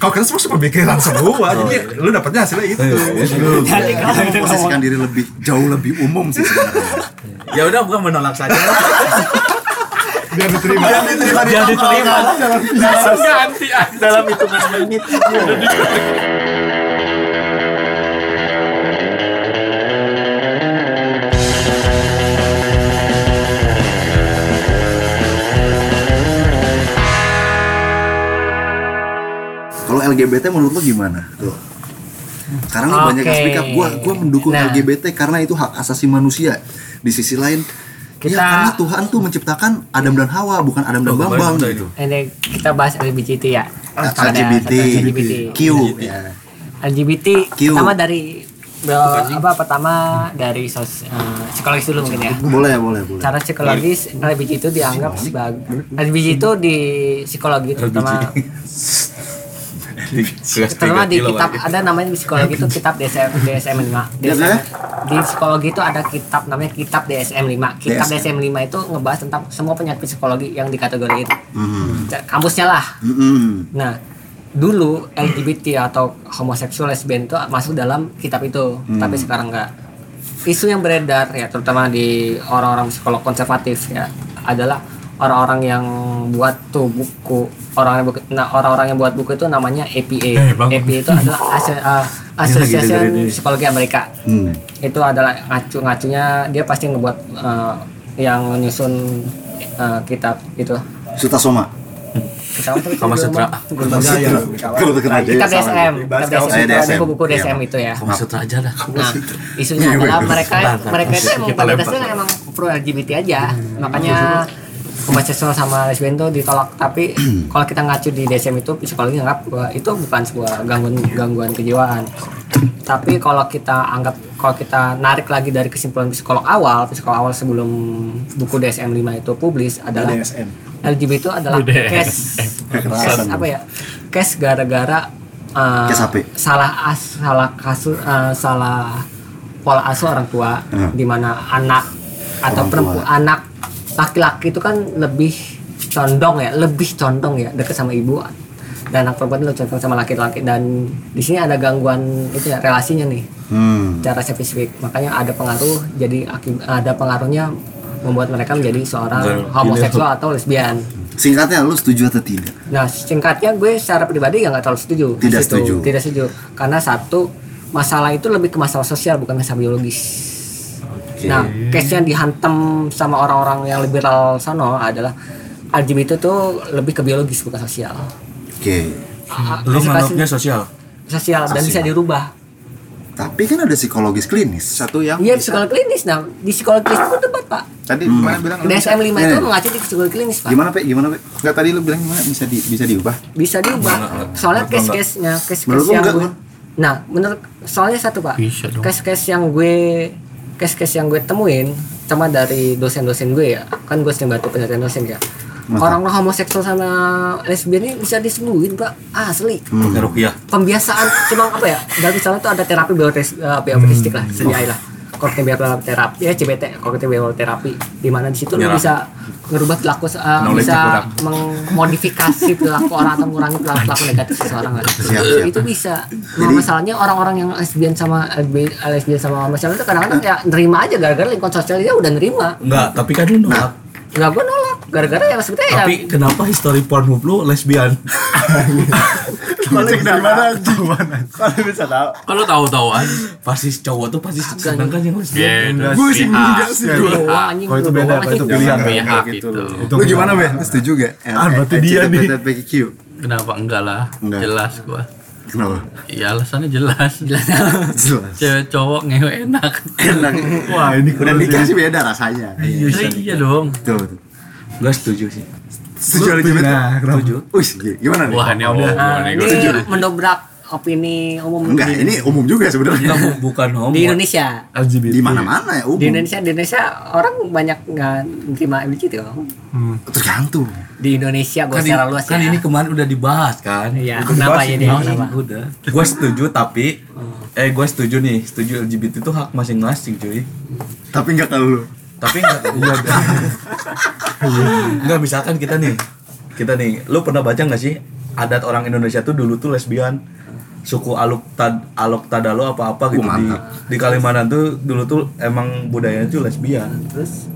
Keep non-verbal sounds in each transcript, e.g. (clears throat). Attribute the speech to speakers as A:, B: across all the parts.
A: kalau kita semua semua pemikiran semua jadi "Oh, lu dapatnya hasilnya itu
B: Lu
C: Jadi kalau
B: lu
C: ada
B: posisikan
C: ngomong-
B: diri lebih jauh lebih umum sih sebenarnya.
D: ya udah gua menolak saja
A: biar diterima
D: dia diterima
E: langsung ganti aja.
C: dalam hitungan menit
B: Kalau LGBT menurut lu gimana? Tuh. Karena lu banyak yang
C: Oke.
B: speak up, gua gua mendukung
C: Nah.
B: LGBT karena itu hak asasi manusia. Di sisi lain Ya
C: Kita-
B: karena Tuhan tuh menciptakan Adam dan Hawa bukan Adam dan
D: Tuh, kemarin
B: Bambang Ah,
D: udah
B: gitu.
D: itu.
C: ini kita bahas LGBT ya Ada
B: LGBT,
C: satu LGBT
B: Q.
C: Iya.
B: ya.
C: LGBT
B: Q.
C: pertama dari be- apa pertama dari sos, eh, psikologis dulu mungkin ya
B: Boleh, boleh, boleh.
C: cara Iya. psikologis LGBT itu dianggap sebagai LGBT itu di psikologi terutama terutama di kitab ada namanya di psikologi itu kitab DSM DSM 5
B: Iya, saya?
C: di psikologi itu ada kitab namanya kitab DSM 5 kitab DSM 5 itu ngebahas tentang semua penyakit psikologi yang dikategoriin
B: Hmm.
C: kampusnya lah
B: Mm-mm.
C: nah dulu LGBT atau homoseksual lesbian itu masuk dalam kitab itu tapi sekarang enggak isu yang beredar ya terutama di orang-orang psikolog konservatif ya adalah orang-orang yang buat tuh buku orang yang buku- nah orang-orang yang buat buku itu namanya APA APA itu adalah aso- uh, Association Psikologi Amerika
B: Hmm.
C: itu adalah ngacu ngacunya dia pasti ngebuat uh, yang nyusun uh, kitab itu
B: Suta Soma.
C: Kita waktu itu
D: Kama
C: belum-
D: Sutra.
C: belum ada ya.
B: Kalau terkena
D: Iya,
B: salah.
C: Kitab DSM,
A: Bahas
C: kitab
B: kaos. Eh,
C: DSM, itu ada
B: DSM.
C: buku-buku
B: Iya.
C: DSM itu ya.
D: kamu sutra aja dah
C: Nah, isunya adalah mereka
D: Iya, Bentar,
C: mereka itu
D: kita lempar.
C: emang
D: Hmm, iya,
C: pada dasarnya emang pro LGBT aja. Makanya homoseksual sama lesbian itu ditolak.
D: (clears throat)
C: Tapi kalau kita ngacu di DSM itu psikologi nganggap bahwa itu bukan sebuah gangguan gangguan kejiwaan. Tapi kalau kita anggap kalau kita narik lagi dari kesimpulan psikolog awal, psikolog awal sebelum buku DSM 5 itu publis adalah
A: DSM
C: LGBT itu adalah
E: Udah.
C: case case
B: Kekerasan.
C: apa ya case gara-gara uh,
B: Case HP.
C: salah as, salah kasus uh, salah pola asuh orang tua
B: Hmm.
C: di mana anak atau
B: Orang tua.
C: perempuan anak laki-laki itu kan lebih condong ya lebih condong ya dekat sama ibu dan anak perempuan lebih condong sama laki-laki dan di sini ada gangguan itu ya relasinya nih
B: Hmm.
C: secara spesifik makanya ada pengaruh jadi akib- ada pengaruhnya membuat mereka menjadi seorang homoseksual atau lesbian.
B: Singkatnya lu setuju atau tidak?
C: Nah singkatnya gue secara pribadi ya nggak terlalu setuju. di
B: Tidak
C: situ.
B: setuju.
C: Tidak setuju karena satu masalah itu lebih ke masalah sosial bukan masalah biologis. Nah case yang dihantam sama orang-orang yang liberal sono adalah LGBT itu lebih ke biologis bukan sosial.
B: Oke.
D: Hmm. lu
C: Kasih-
D: nganggapnya
C: kasih-
D: sosial
C: sosial dan bisa
B: Sosial.
C: dirubah.
B: Tapi kan ada psikologis klinis.
F: Satu yang
C: Iya
F: bisa-
C: psikologi klinis. Nah di psikologi klinis itu debat pak.
F: Tadi gimana bilang lu bisa-
C: DSM 5 itu
B: Iya.
C: mengacu di psikologi klinis pak.
B: Hmm. Gimana, Pe? Gimana, Pe?
F: Enggak tadi lu bilang gimana bisa di, bisa diubah?
C: bisa diubah
D: Menurut
C: soalnya
D: lo
C: case-case nya case-case
B: Menurut lo
C: yang
B: enggak,
C: gue nah menurut soalnya satu pak
E: Bisa dong.
C: case-case yang gue case-case yang gue temuin sama dari dosen-dosen gue ya kan gue sering bantu penelitian dosen ya
B: Mantap.
C: orang homoseksual sama lesbian ini bisa disembuhin pak asli
D: pakai rupiah
C: pembiasaan cuma apa ya dari misalnya tuh ada terapi biotis eh, biotistik
A: Hmm.
C: lah CBI lah kognitif behavioral terapi ya CBT kognitif behavioral terapi di mana di situ lu
D: Menyerah.
C: bisa merubah perilaku eh,
D: Knowledge
C: bisa
D: berkurang.
C: memodifikasi perilaku orang atau mengurangi perilaku perilaku negatif seseorang lah.
B: Siap, siap.
C: itu bisa Nah, masalahnya orang-orang yang lesbian sama LB lesbian sama masalah itu kadang-kadang ya nerima aja gara-gara lingkungan sosialnya udah nerima
D: enggak tapi kan lu
C: Nah,
D: nolak
C: nggak gue nolak gara-gara yang sebetulnya ya
D: tapi kenapa history Pornhub lu lesbian
F: Kalau bisa tahu. Kalau bisa tahu.
E: Kalau tahu-tahuan,
D: pasti cowok tuh pasti seneng kan yang lesbian
E: beda
A: Gue
E: sih.
A: sih enggak sih.
E: Ya,
C: Lu doang, anjing,
A: Kalau itu
C: lu
A: beda,
C: doang,
A: kalau itu
C: anjing.
A: pilihan.
B: Ya,
E: Pihak
F: Kayak gitu.
E: gitu.
A: Lu gimana, Ben? Lu setuju gak?
B: Eh,
A: Ah, berarti dia nih.
B: LGBTQ.
E: Kenapa enggak lah?
B: Enggak.
E: Jelas gua.
B: Kenapa?
E: Iya alasannya jelas.
B: Jelas.
E: (laughs) Cewek cowok ngewe enak.
B: Enak.
A: Wah, ini
B: Udah
A: keren sih.
B: nikah sih beda rasanya.
E: Iya, iya dong.
B: Betul, betul.
D: enggak setuju sih
B: Setuju
A: Lu
B: LGBT?
A: Nah, kenapa?
B: Wih, gimana nih?
E: Wah ini apa?
C: Nah,
E: Ini
C: ini mendobrak opini umum
B: Enggak, ini umum juga sebenarnya.
D: kamu bukan homo
C: di Indonesia
A: LGBT.
B: Di mana-mana ya
C: di
B: umum.
C: Indonesia di Indonesia orang banyak nggak terima LGBT loh
B: Tergantung.
C: di Indonesia gue
D: kan,
C: secara
D: ini-
C: luas
D: kan
C: ya
D: ini kemarin udah dibahas kan
C: Iya, kenapa ini?
D: Oh,
C: Kenapa? Oh.
D: udah gue setuju tapi eh gue setuju nih setuju LGBT itu hak masing-masing cuy
B: Tapi enggak kalau lu.
D: tapi nggak iya nggak misalkan kita nih kita nih lu pernah baca nggak sih adat orang Indonesia tuh dulu tuh lesbian suku Aluk Tad Alok Tadalo apa apa gitu di di Kalimantan tuh dulu tuh emang budayanya tuh lesbian
C: terus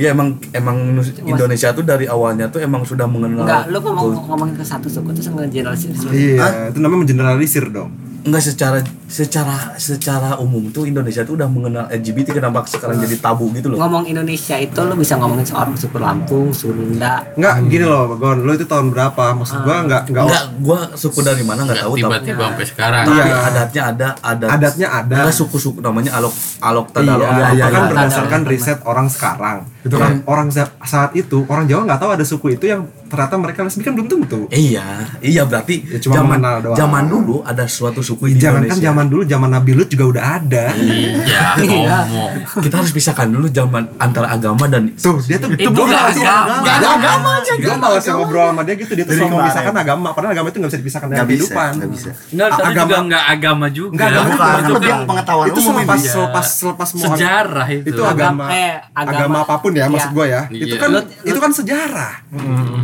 D: ya emang emang Nus- Indonesia tuh dari awalnya tuh emang sudah mengenal
C: enggak lu
D: kul-
C: ngomong ngomongin ke satu suku terus sama generasi
A: Iya, itu namanya mengeneralisir dong.
D: Enggak secara secara secara umum tuh Indonesia tuh udah mengenal LGBT kenapa sekarang jadi tabu gitu loh.
C: ngomong Indonesia itu lu bisa ngomongin seorang suku Lampung Sunda
A: Enggak, gini loh, Gon. Lo itu tahun berapa? Maksud gua enggak enggak
D: Enggak, gua suku dari mana enggak tahu tapi
E: tiba-tiba sampai sekarang
D: tapi
A: Iya.
D: adatnya ada adat
A: Adatnya ada.
D: Enggak suku-suku namanya Alok Alok
A: Iya,
D: Tadalok
A: iya,
D: apa
A: itu kan
D: kan
A: berdasarkan riset orang sekarang. Itu kan orang sa- saat itu orang Jawa nggak tahu ada suku itu yang ternyata mereka lesbi kan belum tentu.
D: Iya, iya berarti
A: Ya, cuma
D: zaman
A: mengenal doang.
D: zaman dulu ada suatu suku di
A: Jangan kan
D: Oh, iya, Indonesia.
A: zaman dulu zaman Nabi Lut juga udah ada.
E: (laughs) iya ngomong
D: Kita harus pisahkan dulu zaman antara agama dan
A: Tuh, dia tuh
E: Itu
A: gua
E: nggak
A: nggak tahu
E: ada, nggak ada
A: agama. Gue malas ngobrol sama dia gitu dia tuh selalu memisahkan agama padahal agama itu nggak bisa dipisahkan dari
B: nggak bisa
A: kehidupan.
B: nggak bisa
E: Enggak, tapi
A: Agama-
E: juga enggak agama juga.
A: Enggak, agama
E: Bukan,
A: itu
E: itu kan
B: pengetahuan
A: itu
B: umum
A: selepas
E: ini.
A: selepas selepas mau
E: sejarah gitu itu.
A: itu agama
C: Agama- eh, agama-
A: agama apapun ya maksud
C: Iya. Mm-hmm.
A: gue ya itu
E: Iya.
A: kan
E: Lu-
A: itu kan sejarah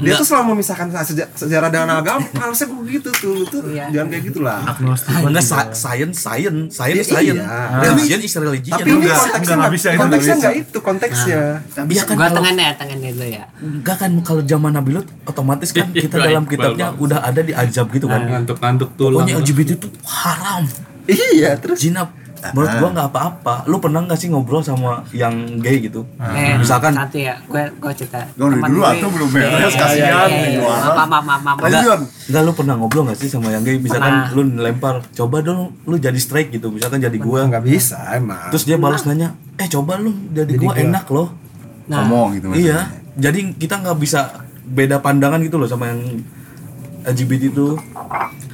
A: dia tuh selalu memisahkan seja- sejarah dengan agama harusnya gue gitu tuh lu tuh
C: Iya.
A: jangan kayak gitulah
D: Ah, enggak sa- science science science
A: Iya.
D: science
A: Tapi-
D: religion is religion
A: tapi ini
D: Enggak.
A: konteksnya nggak
G: bisa, itu
A: konteksnya
G: nggak
A: nggak itu konteksnya
C: Nah.
D: Iya kan
C: gua
D: kalau-
C: tangannya tangannya dulu ya
D: Enggak kan kalau zaman Nabi Lut otomatis kan kita
E: Iya,
D: dalam
E: Iqbal
D: kitabnya
E: banget.
D: udah ada di ajab gitu
E: Nah,
D: kan.
E: ngantuk-ngantuk tulang.
D: Pokoknya LGBT itu haram.
A: iya terus
D: Zina menurut gua nggak apa-apa. Lu pernah nggak sih ngobrol sama yang gay gitu?
C: Eh,
D: Misalkan
C: satu ya, gue gue cerita.
B: Gua dari
C: Teman
B: dulu
C: gue-
B: atuh belum beres,
C: Eh,
B: kasihan
C: eh,
B: nih,
C: eh,
B: juara.
C: Maaf, maaf, maaf, maaf.
B: Lanjut.
D: Enggak, enggak lu pernah ngobrol gak sih sama yang gay? Misalkan
C: Pernah.
D: lu lempar, coba dong lu jadi strike gitu, misalkan jadi gua.
A: nggak bisa emang
D: Terus dia balas nanya, "Eh, coba lu jadi, gua, enak loh."
C: Nah,
B: ngomong gitu maksudnya.
D: Iya. Jadi kita nggak bisa beda pandangan gitu loh sama yang LGBT itu.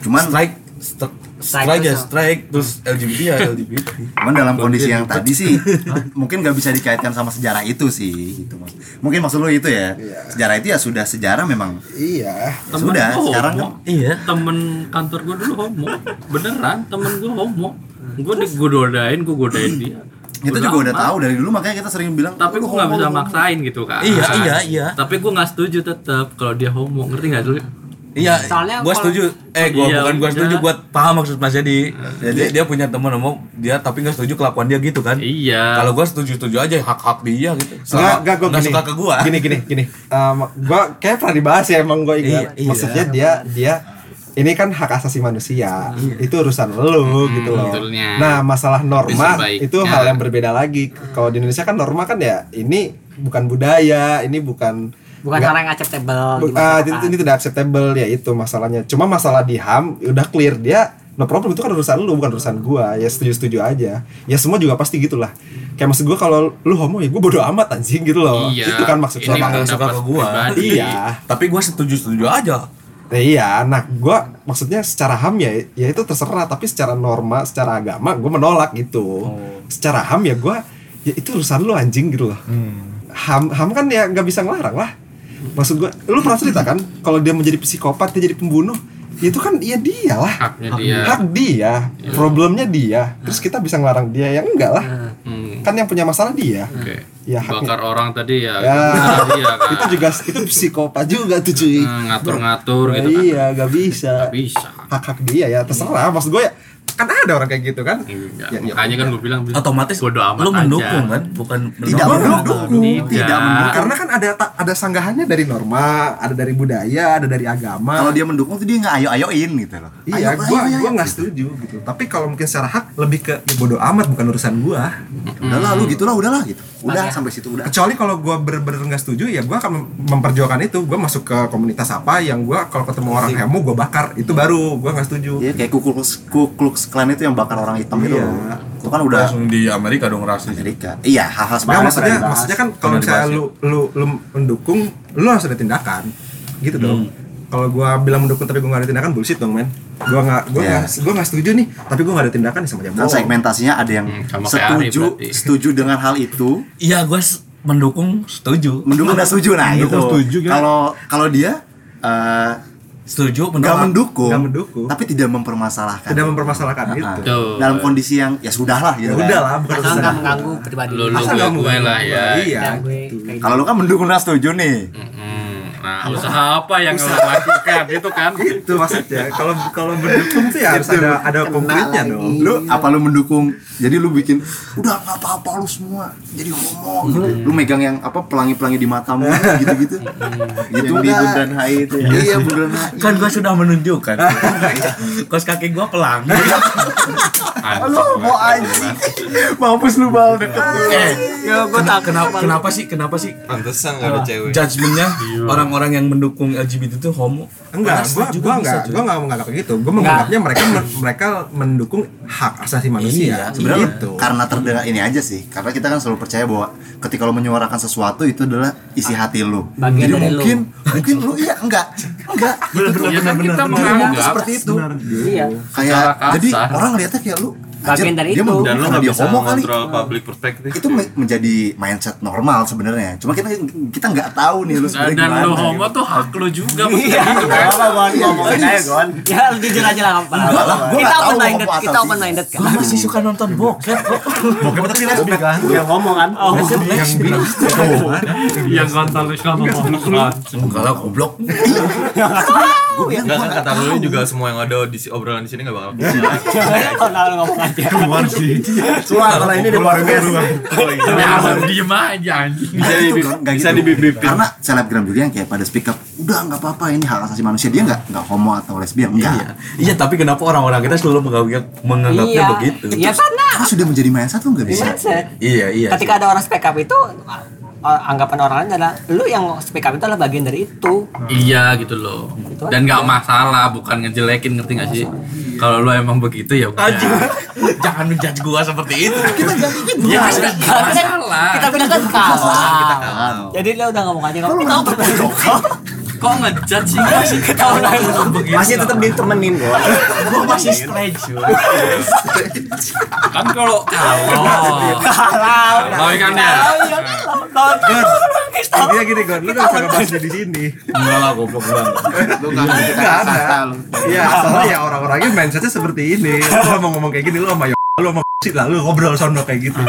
B: cuman
D: strike stri-
C: Strike
D: strike ya
C: terus apa?
D: strike terus LGBT ya LGBT
B: cuman dalam kondisi yang tadi sih (laughs) mungkin nggak bisa dikaitkan sama sejarah itu sih gitu mas mungkin maksud lu itu ya sejarah itu ya sudah sejarah memang
A: iya
B: ya sudah sekarang kan
D: iya
E: temen kantor gue dulu homo beneran temen gue homo gue di gue godain gue godain dia
B: kita
E: Udah
B: juga udah
E: amat.
B: tahu dari dulu makanya kita sering bilang "Oh,
E: tapi
B: "Lu
E: gue nggak
B: homo,
E: bisa
B: lu homo."
E: maksain gitu kan
D: Iya, iya, iya.
E: tapi gue nggak setuju tetap kalau dia homo ngerti nggak dulu
D: iya
C: Soalnya
D: gua
C: kalau-
D: setuju eh gua
E: Iya,
D: bukan gua
E: udah.
D: setuju gua paham maksud Mas Jadi dia, dia punya teman sama dia tapi nggak setuju kelakuan dia gitu kan
E: iya
D: kalau gua setuju setuju aja hak hak dia gitu
A: Enggak,
D: Selama
A: enggak gue
D: nggak
A: gini.
D: suka ke gua
A: Gini gini gini. Um, gue kayak pernah dibahas ya emang gue ingat.
D: Iya, iya.
A: Maksudnya dia dia ini kan hak asasi manusia.
D: Iya.
A: Itu urusan
D: Hmm,
A: lu gitu loh.
E: betulnya.
A: Nah, masalah norma
E: Itu sebaiknya.
A: itu hal yang berbeda lagi. Kalau di Indonesia kan norma kan ya ini bukan budaya, ini bukan
C: bukan
A: nggak-
C: orang yang acceptable. di
A: Bu- ah,
C: masyarakat.
A: itu- ini tidak acceptable ya itu masalahnya. Cuma masalah di HAM udah clear dia no problem itu kan urusan lu bukan urusan gua. Ya setuju-setuju aja. Ya semua juga pasti gitulah. Kayak maksud gua kalau lu homo ya gua bodo amat anjing gitu loh. Itu kan maksud
E: ini
A: gua.
D: Iya, nggak suka
E: pendapat
D: ke gua.
E: pribadi.
A: Iya.
D: tapi gua setuju setuju aja
A: Nah, iya, nah gua maksudnya secara HAM ya ya itu terserah tapi secara norma, secara agama gua menolak gitu.
E: Oh.
A: Secara HAM ya gua ya itu urusan lu anjing gitu loh.
E: Hmm.
A: HAM HAM kan ya nggak bisa ngelarang lah. Maksud gua, lu pernah cerita kan kalau dia menjadi psikopat, dia jadi pembunuh, ya itu kan ya dia lah.
E: haknya dia Iya.
A: Hak dia, problemnya dia. Terus kita bisa ngelarang dia ya enggak lah.
E: Hmm,
A: Kan yang punya masalah dia.
E: oke
A: Ya,
E: bakar orang tadi ya,
A: Ya.
E: itu dia kan
A: (laughs) Itu juga itu psikopat juga tuh cuy.
E: Hmm, ngatur-ngatur gitu kan
A: iya, nggak bisa
E: Nggak bisa
A: hak hak dia ya terserah
B: Iya.
A: maksud gue ya kan ada orang kayak gitu kan
E: Iya,
A: Ya, ya,
E: makanya kan gue bilang
D: otomatis
E: bodo amat
D: lu
E: aja.
D: mendukung kan bukan
B: tidak
D: menolak.
B: mendukung
E: Tidak.
B: tidak mendukung
A: karena kan ada ta- ada sanggahannya dari norma ada dari budaya ada dari agama
B: kalau dia mendukung tuh dia nggak ayo ayoin gitu loh
A: iya
B: Ayo,
A: gue
B: ayo, ayo.
A: gue nggak setuju gitu tapi kalau mungkin secara hak lebih ke ya bodo amat bukan urusan gue
B: Gitu. udahlah lu
E: Hmm.
B: gitulah udahlah gitu udah sampai situ udah
A: kecuali kalau gue bener-bener nggak setuju ya gue akan mem- memperjuangkan itu gue masuk ke komunitas apa yang gue kalau ketemu orang hemo gue bakar itu baru gue nggak setuju
B: Iya kayak kuklux kuklux klan itu yang bakar orang hitam itu.
A: Iya.
B: Itu kan udah
D: langsung di Amerika dong rasis
B: Amerika. Iya, hal-hal
A: Nggak,
B: semacam
A: maksudnya
B: pernah dibahas.
A: maksudnya kan kalau
D: Pernah
A: misalnya
D: dibahas,
A: lu, lu lu mendukung lu harus ada tindakan gitu dong kalau gua bilang mendukung tapi gua gak ada tindakan bullshit dong men gua nggak gua
B: Iya.
A: nggak gua nggak setuju nih tapi gua gak ada tindakan ya sama aja
B: kan
A: bohong.
B: segmentasinya ada yang
E: Hmm, sama kayak Ari
B: setuju
E: berarti.
B: setuju dengan hal itu,
D: iya gua s- mendukung setuju
B: mendukung dan setuju nah itu.
G: Mendukung setuju, gimana?
B: Kalau kalau dia eh,
D: setuju
B: nggak
D: menolak
B: mendukung,
A: Nggak mendukung.
B: tapi tidak mempermasalahkan.
A: tidak mempermasalahkan
B: Ah,
A: itu
E: Tuh.
B: Dalam kondisi yang ya sudah lah gitu.
A: ya
B: kan.
A: udah lah bukan
C: Asal
A: urusan
C: nggak
A: aku.
C: mengganggu pribadi.
E: Lu- lu
A: Asal
E: gue-
A: nggak
E: gue
A: mengganggu
E: lah ya.
A: iya
C: Dan gue kayak gitu.
B: Kalau lu kan mendukung dan setuju nih.
E: Hmm, Nah, usaha apa yang lo lakukan itu kan?
A: itu Gitu maksudnya kalau kalau mendukung tuh ya harus
F: Itu
A: ada ada konkretnya dong
B: lu apa lu mendukung jadi lu bikin udah nggak apa-apa lu semua jadi homo gitu lu megang yang apa pelangi-pelangi di matamu gitu-gitu gitu
F: Yang di
B: nggak?
F: Bundaran HI itu ya.
B: iya bundaran HI
D: kan gua sudah
A: (laughs)
D: menunjukkan kos kaki gua pelangi
E: Halo,
F: mau anjing. Mampus lu bal deket.
C: Ya gue tak kenapa.
D: Eh, kenapa sih kenapa sih
G: Pantesan gak ada cewek.
D: judgementnya orang-orang yang mendukung LGBT itu homo
A: enggak
D: Padahal
A: gua
D: setuju
A: gua
D: bisa,
A: enggak
D: cuy.
A: gua enggak menganggap kayak gitu gua menganggapnya mereka mereka mendukung hak asasi manusia
B: sebenarnya
A: gitu
B: Iya. karena terdengar ini aja sih karena kita kan selalu percaya bahwa ketika lo menyuarakan sesuatu itu adalah isi hati lo
C: Bagian
B: jadi
C: dari lu.
B: mungkin mungkin lo iya enggak enggak gitu
E: Ya kan kita
B: Ngomong tuh
E: menganggap
B: seperti itu
C: Iya.
B: kayak
E: Secara kasar.
B: jadi orang lihatnya kayak lu anjir,
C: Bagian dari
B: dia
C: itu.
B: mendukung
G: Dan lu
B: karena
G: gak
B: dia
G: bisa
B: homo kali Nah,
G: ngontrol public perspective.
B: itu me- menjadi mindset normal sebenarnya cuma kita kita nggak tahu nih lu sebenarnya
E: dan
B: gimana
E: lo homo tuh hak lo juga
A: Iya.
E: maksudnya gitu kan.
F: Apa gon ngomongin aja gon.
C: Ya lu jujur aja lah apa.
B: gua
C: Kita
B: nggak tahu
C: open minded,
B: mau apa
C: kita
B: atas
C: open minded kan.
D: Gua masih suka nonton bokep kok
B: bokep tapi lesbi kan
F: Yang ngomong kan.
D: Bokep lesbi
E: Yang kontol lu sama homo.
D: kalau goblok
G: Enggak kan kata lu juga semua yang ada di si- obrolan di sini gak bakal keluar.
C: Kenal ngomong aja.
F: Keluar kalau ini di podcast.
E: Ya, lu diem aja anjing.
B: bisa di bisa dibibipin kan? gitu. karena selebgram juga yang kayak pada speak up udah nggak apa-apa ini hak asasi manusia dia nggak nggak homo atau lesbian enggak
D: iya tapi kenapa orang-orang kita selalu menganggapnya menganggapnya
C: Iya.
D: begitu
C: Iya karena
B: karena sudah menjadi mindset lu nggak bisa
C: mindset.
D: iya iya
C: Ketika ada orang speak up itu uh, anggapan orang lain adalah lu yang speak up itu adalah bagian dari itu.
E: Iya gitu loh. Dan gak masalah, bukan ngejelekin ngerti gak sih? Kalau lu emang begitu ya udah.
D: Anjing, jangan menjudge gua seperti itu.
E: Ya kan
C: Kita
E: nggak masalah.
C: kita bilang kan kalah. Jadi lu udah ngomong aja kamu tahu
E: Kok ngejudge sih gak sih? Kalau lu emang begitu.
F: Masih tetap ditemenin gon.
D: Gua masih straight, cuy.
E: kan kalau kalau
C: kalah.
E: kalau kan
C: Nah,
E: ya.
C: iya,
A: Intinya gini Gon, lu gak usah ngebahasnya di sini
D: Enggak lah, goblok banget.
F: Lu nggak
B: Iya.
F: ngerti
A: Nggak ada.
F: kata-kata lu.
A: Iya, soalnya ya orang-orangnya mindsetnya seperti ini Lu mau ngomong kayak gini, lu sama yo- lu sama sih lah, lu ngobrol sono kayak gitu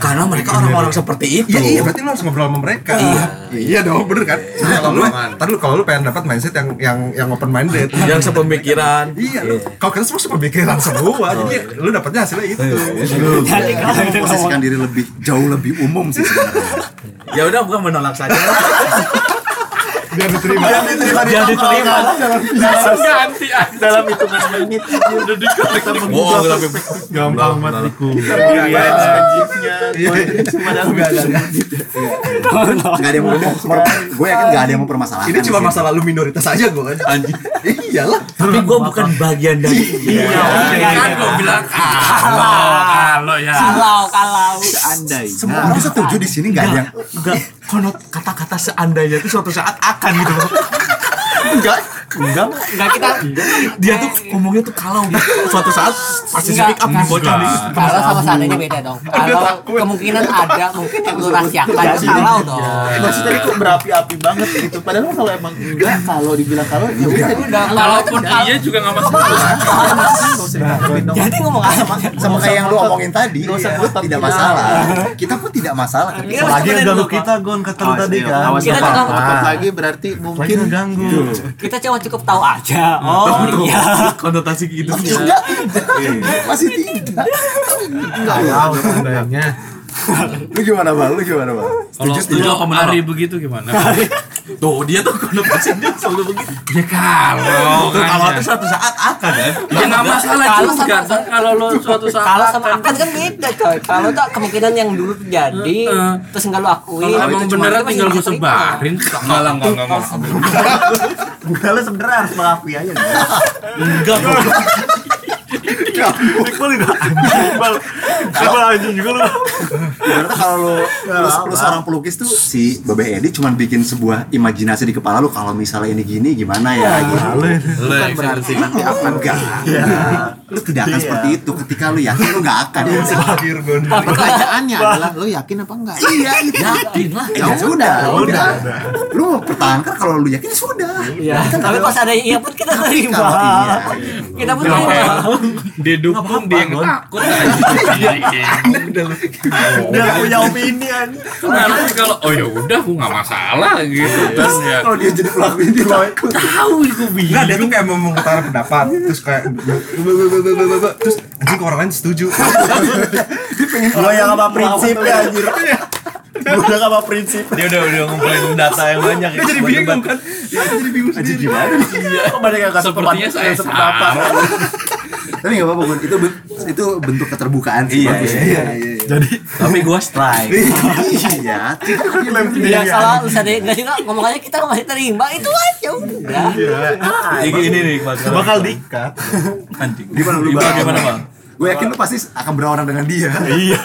D: Karena mereka orang-orang seperti itu.
A: Iya iya, berarti lu harus ngobrol sama mereka Iya Iya dong, bener kan? Kalau lu, ntar lu kalau lu pengen dapat mindset yang yang yang open minded
D: Yang sepemikiran.
A: Iya, lu- kalau kita semua pemikiran semua, jadi lu dapatnya hasilnya itu.
F: Iya.
B: lu
C: Jadi kalau
B: lu
C: itu
B: memposisikan diri lebih jauh lebih umum sih sebenarnya
D: Ya udah gua menolak saja.
A: Biar diterima.
D: Dia diterima.
E: Langsung ganti aja. dalam hitungan menit udah dikonek
D: Wow, tapi gampang banget.
A: Iya, iya, iya. Enggak, enggak, enggak.
B: nggak ada yang mau
F: Iya.
B: ngomong gue yakin nggak ada yang mau permasalahan
A: Ini cuma
B: sih.
A: masa lalu minoritas aja gue kan.
D: Anjing.
A: Iyalah.
D: Tapi gua bukan bagian dari
A: Iya,
E: kan gua bilang
D: "Ah,
E: kalau kalau ya
C: kalau kalau
F: Andai.
B: semua orang setuju di sini nggak ada yang
D: Enggak, konot kata-kata seandainya itu suatu saat akan gitu loh.
B: enggak
C: nggak kita
D: Dia tuh ngomongnya tuh kalau gitu. Suatu saat pasti
C: Enggak.
D: speak up nih bocah nih.
C: kalau sama seandainya beda dong kalau kemungkinan ada mungkin yang lu rahasiakan itu kalau dong
F: Maksudnya kok berapi-api banget gitu. Padahal kalau emang enggak kalau dibilang kalau
B: Iya.
F: ya udah
C: udah kalau
E: kalaupun iya juga nggak masalah
C: jadi ngomong apa
B: sama kayak yang lu omongin tadi
F: Nggak usah
B: iya,
F: ngotot.
B: tidak masalah kita pun tidak masalah kan?
C: Iya, Apalagi yang ganggu kita,
D: Gon, kata
F: Awas
B: iya,
F: dia, awas
C: Kita
F: dia.
C: tuh-
F: Apa lagi berarti mungkin
D: ganggu.
C: kita cuma cukup tahu aja oh iya
D: Konotasi gitu.
B: enggak masih tidak lu gimana bang lu gimana bang
E: kalau lu hari begitu gimana
D: Tuh, dia tuh konotasinya selalu begitu.
E: ya kalau
D: Tuh,
E: kan
D: kalau
E: ya.
D: itu suatu saat akan ya.
E: ya nggak masalah
C: Kalau
E: juga
C: sama-
E: kan kalau lo suatu saat
C: kalau sama
E: akan-
C: akan kan beda coy kalau tuh kemungkinan yang dulu jadi
E: Heeh.
C: terus nggak lu akuin
E: kalau emang
C: itu cuma-
E: beneran
C: itu masih
E: tinggal
C: bisa
E: gue
C: terima.
E: sebarin
G: Enggak lah, enggak, enggak, enggak.
F: Enggak lu sebenarnya harus mengakui aja Gon.
D: Enggak, Gon.
B: Ternyata kalau lu, lu, lu seorang pelukis tuh si Babeh Edi cuman bikin sebuah imajinasi di kepala lu kalau misalnya ini gini Iya, gimana Iya. ya gitu.
G: Lu yang
F: Berarti nanti akan
B: Enggak. lu tidak akan seperti itu ketika lu yakin lu gak akan
G: Insecure gue
F: pertanyaannya adalah lo yakin apa enggak
B: iya gitu
C: Yakin lah.
B: ya sudah udah lu mau pertahankan kalau lu yakin ya sudah
C: Iya. Tapi pas ada yang iya pun kita terima.
B: Kalau iya,
C: Kita pun terima.
E: Dia dukung dia yang takut Iya,
F: udah punya opini an
E: Nah, nanti kalau oh ya udah gua nggak masalah gitu kan ya.
B: kalau dia jadi pelaku ini laku
H: Enggak, dia tuh kayak mau mengutarakan pendapat Terus kayak Terus anjing orang lain setuju
F: lo yang apa prinsipnya anjir udah apa prinsip
G: Dia udah udah ngumpulin data yang banyak ya. Jadi bingung kan.
B: aja gimana
F: kok banyak yang kasih teman-
E: Sepertinya saya
F: yang
E: salah.
B: tapi gak apa-apa Gun. itu ben- itu bentuk keterbukaan sih
D: Iya,
B: bagus
D: iya,
B: iya
D: Tapi gue strike.
B: iya
C: Yang salah lu sadar enggak juga ngomongannya kita masih terima itu aja udah.
D: Ini ini nih masalah.
H: Bakal dikat
D: anjing.
B: gimana lu
D: Gimana
B: bang
D: gimana bang?
B: gue yakin lu pasti akan berorang dengan dia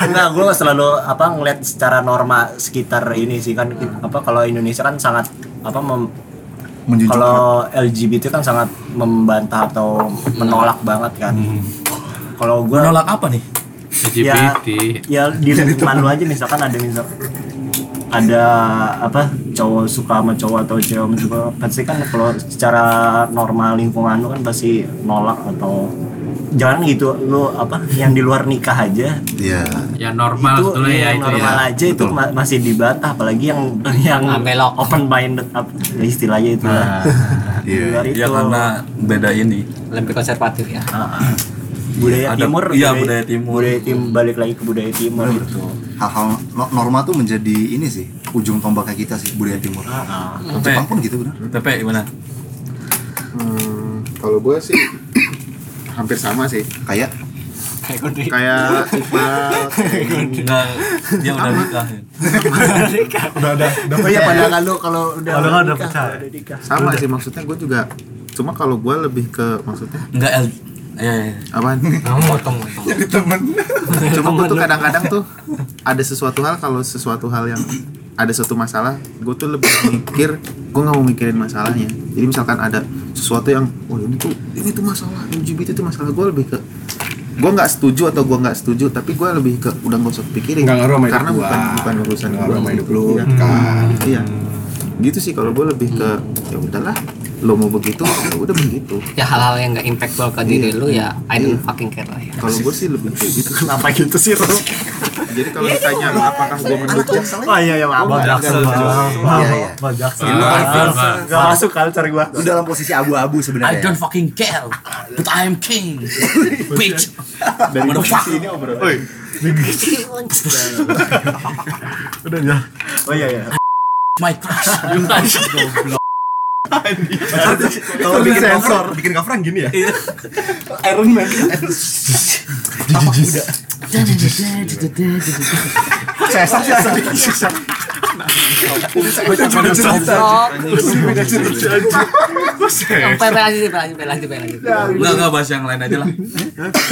I: Enggak, gue selalu apa ngeliat secara norma sekitar ini sih kan apa kalau Indonesia kan sangat apa mem-
B: menjujur
I: kalau LGBT kan sangat membantah atau menolak banget kan. Kalau gue
D: Menolak apa nih?
E: LGBT.
I: ya di lingkungan lu aja misalkan ada misal ada apa cowok suka sama cowok atau cewek sama cowok pasti kan kalau secara normal lingkungan lu kan pasti nolak atau jangan gitu lu apa yang di luar nikah aja
B: iya
E: Ya normal
I: itu
E: sebetulnya ya
I: yang
E: itu ya.
I: normal aja itu
B: Betul.
I: ma- masih dibantah apalagi yang yang
C: Ah, belok.
I: open minded apa istilahnya itu lah. (laughs) Di
B: iya
I: luar itu
D: Ya karena beda ini.
C: Lebih konservatif ya.
I: Ah, ah. budaya
D: Ada-
I: timur
D: iya, budaya timur.
I: budaya tim- balik lagi ke budaya timur gitu. itu
B: hal-hal no- norma tuh menjadi ini sih ujung tombaknya kita sih budaya timur Jepang pun gitu benar
D: Tepe gimana?
J: Hmm, kalau gue sih hampir sama sih.
B: kayak
J: Kayak Iqbal.
D: Enggak, dia udah nikah.
H: Udah, udah, udah
F: oh iya pandangan lu kalau udah
H: Kalau nggak udah pecah
J: Sama sih maksudnya gue juga. Cuma kalau gue lebih ke maksudnya
D: Enggak L. Ya, ya.
J: apaan? Cuma gue tuh kadang-kadang tuh ada sesuatu hal kalau sesuatu hal yang ada suatu masalah, gue tuh lebih mikir, gue nggak mau mikirin masalahnya. Jadi misalkan ada sesuatu yang, oh ini tuh ini tuh masalah LGBT itu masalah gue lebih ke gue nggak setuju atau gue nggak setuju tapi gue lebih ke udah gak usah pikirin
A: Nggak ngaruh sama hidup
J: karena
A: gua.
J: bukan bukan urusan gue
A: Nggak ngaruh sama hidup lu,
J: Iya.
A: kan.
J: iya gitu sih kalau gue lebih ke ya udahlah lo mau begitu ya udah begitu
C: Ya hal-hal yang enggak impactful ke diri lu ya I don't fucking care lah ya.
B: Iya.
J: kalau gue sih lebih kayak gitu
I: kenapa gitu sih lu
J: jadi kalau ditanya apakah gue mendukung
I: oh iya yang abang Jackson
B: Iya, iya.
I: Abang Jackson
E: Normal, normal.
I: gak masuk culture gua
B: lu dalam posisi
D: I
B: abu-abu sebenarnya ya?
D: don't fucking care, but I am king, bitch.
J: dari
D: Motherfucker.
J: posisi ini obrolan
I: oh iya iya
D: My crush.
H: Kalau bikin cover, bikin coveran gini ya
C: Goblok. Sampai lanjut, lanjut, lanjut, lanjut.
D: Enggak enggak bahas yang lain aja lah.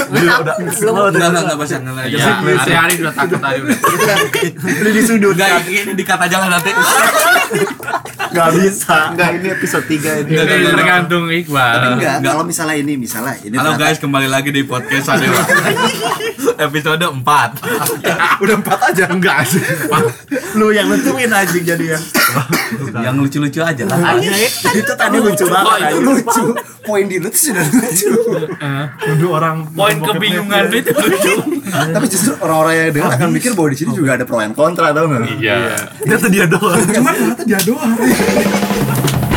C: Lu
D: Enggak enggak enggak bahas yang lain aja.
E: Ya,
D: lah.
E: hari-hari udah takut tadi udah.
D: Enggak ini dikata aja lah nanti.
I: gak bisa
J: enggak ini episode 3 ini
D: Enggak, enggak,
E: Ini
D: enggak.
E: tergantung Iqbal.
B: enggak kalau misalnya ini misalnya ini
D: Halo
B: ternyata-
D: guys, kembali lagi di podcast (laughs) Sadewa. Episode 4.
H: Udah empat aja Enggak sih
I: lu yang nentuin anjing jadi ya
D: Yang lucu-lucu aja lah.
I: itu tadi lucu banget
B: itu
I: anjing.
B: lucu poin di lu tuh sudah lucu
H: Nuduh orang
E: Poin kebingungan itu lucu.
B: tapi justru orang-orang yang dengar akan mikir bahwa di sini juga ada pro and kontra tau nggak
E: Iya.
H: Ternyata dia doang Cuman ternyata dia doang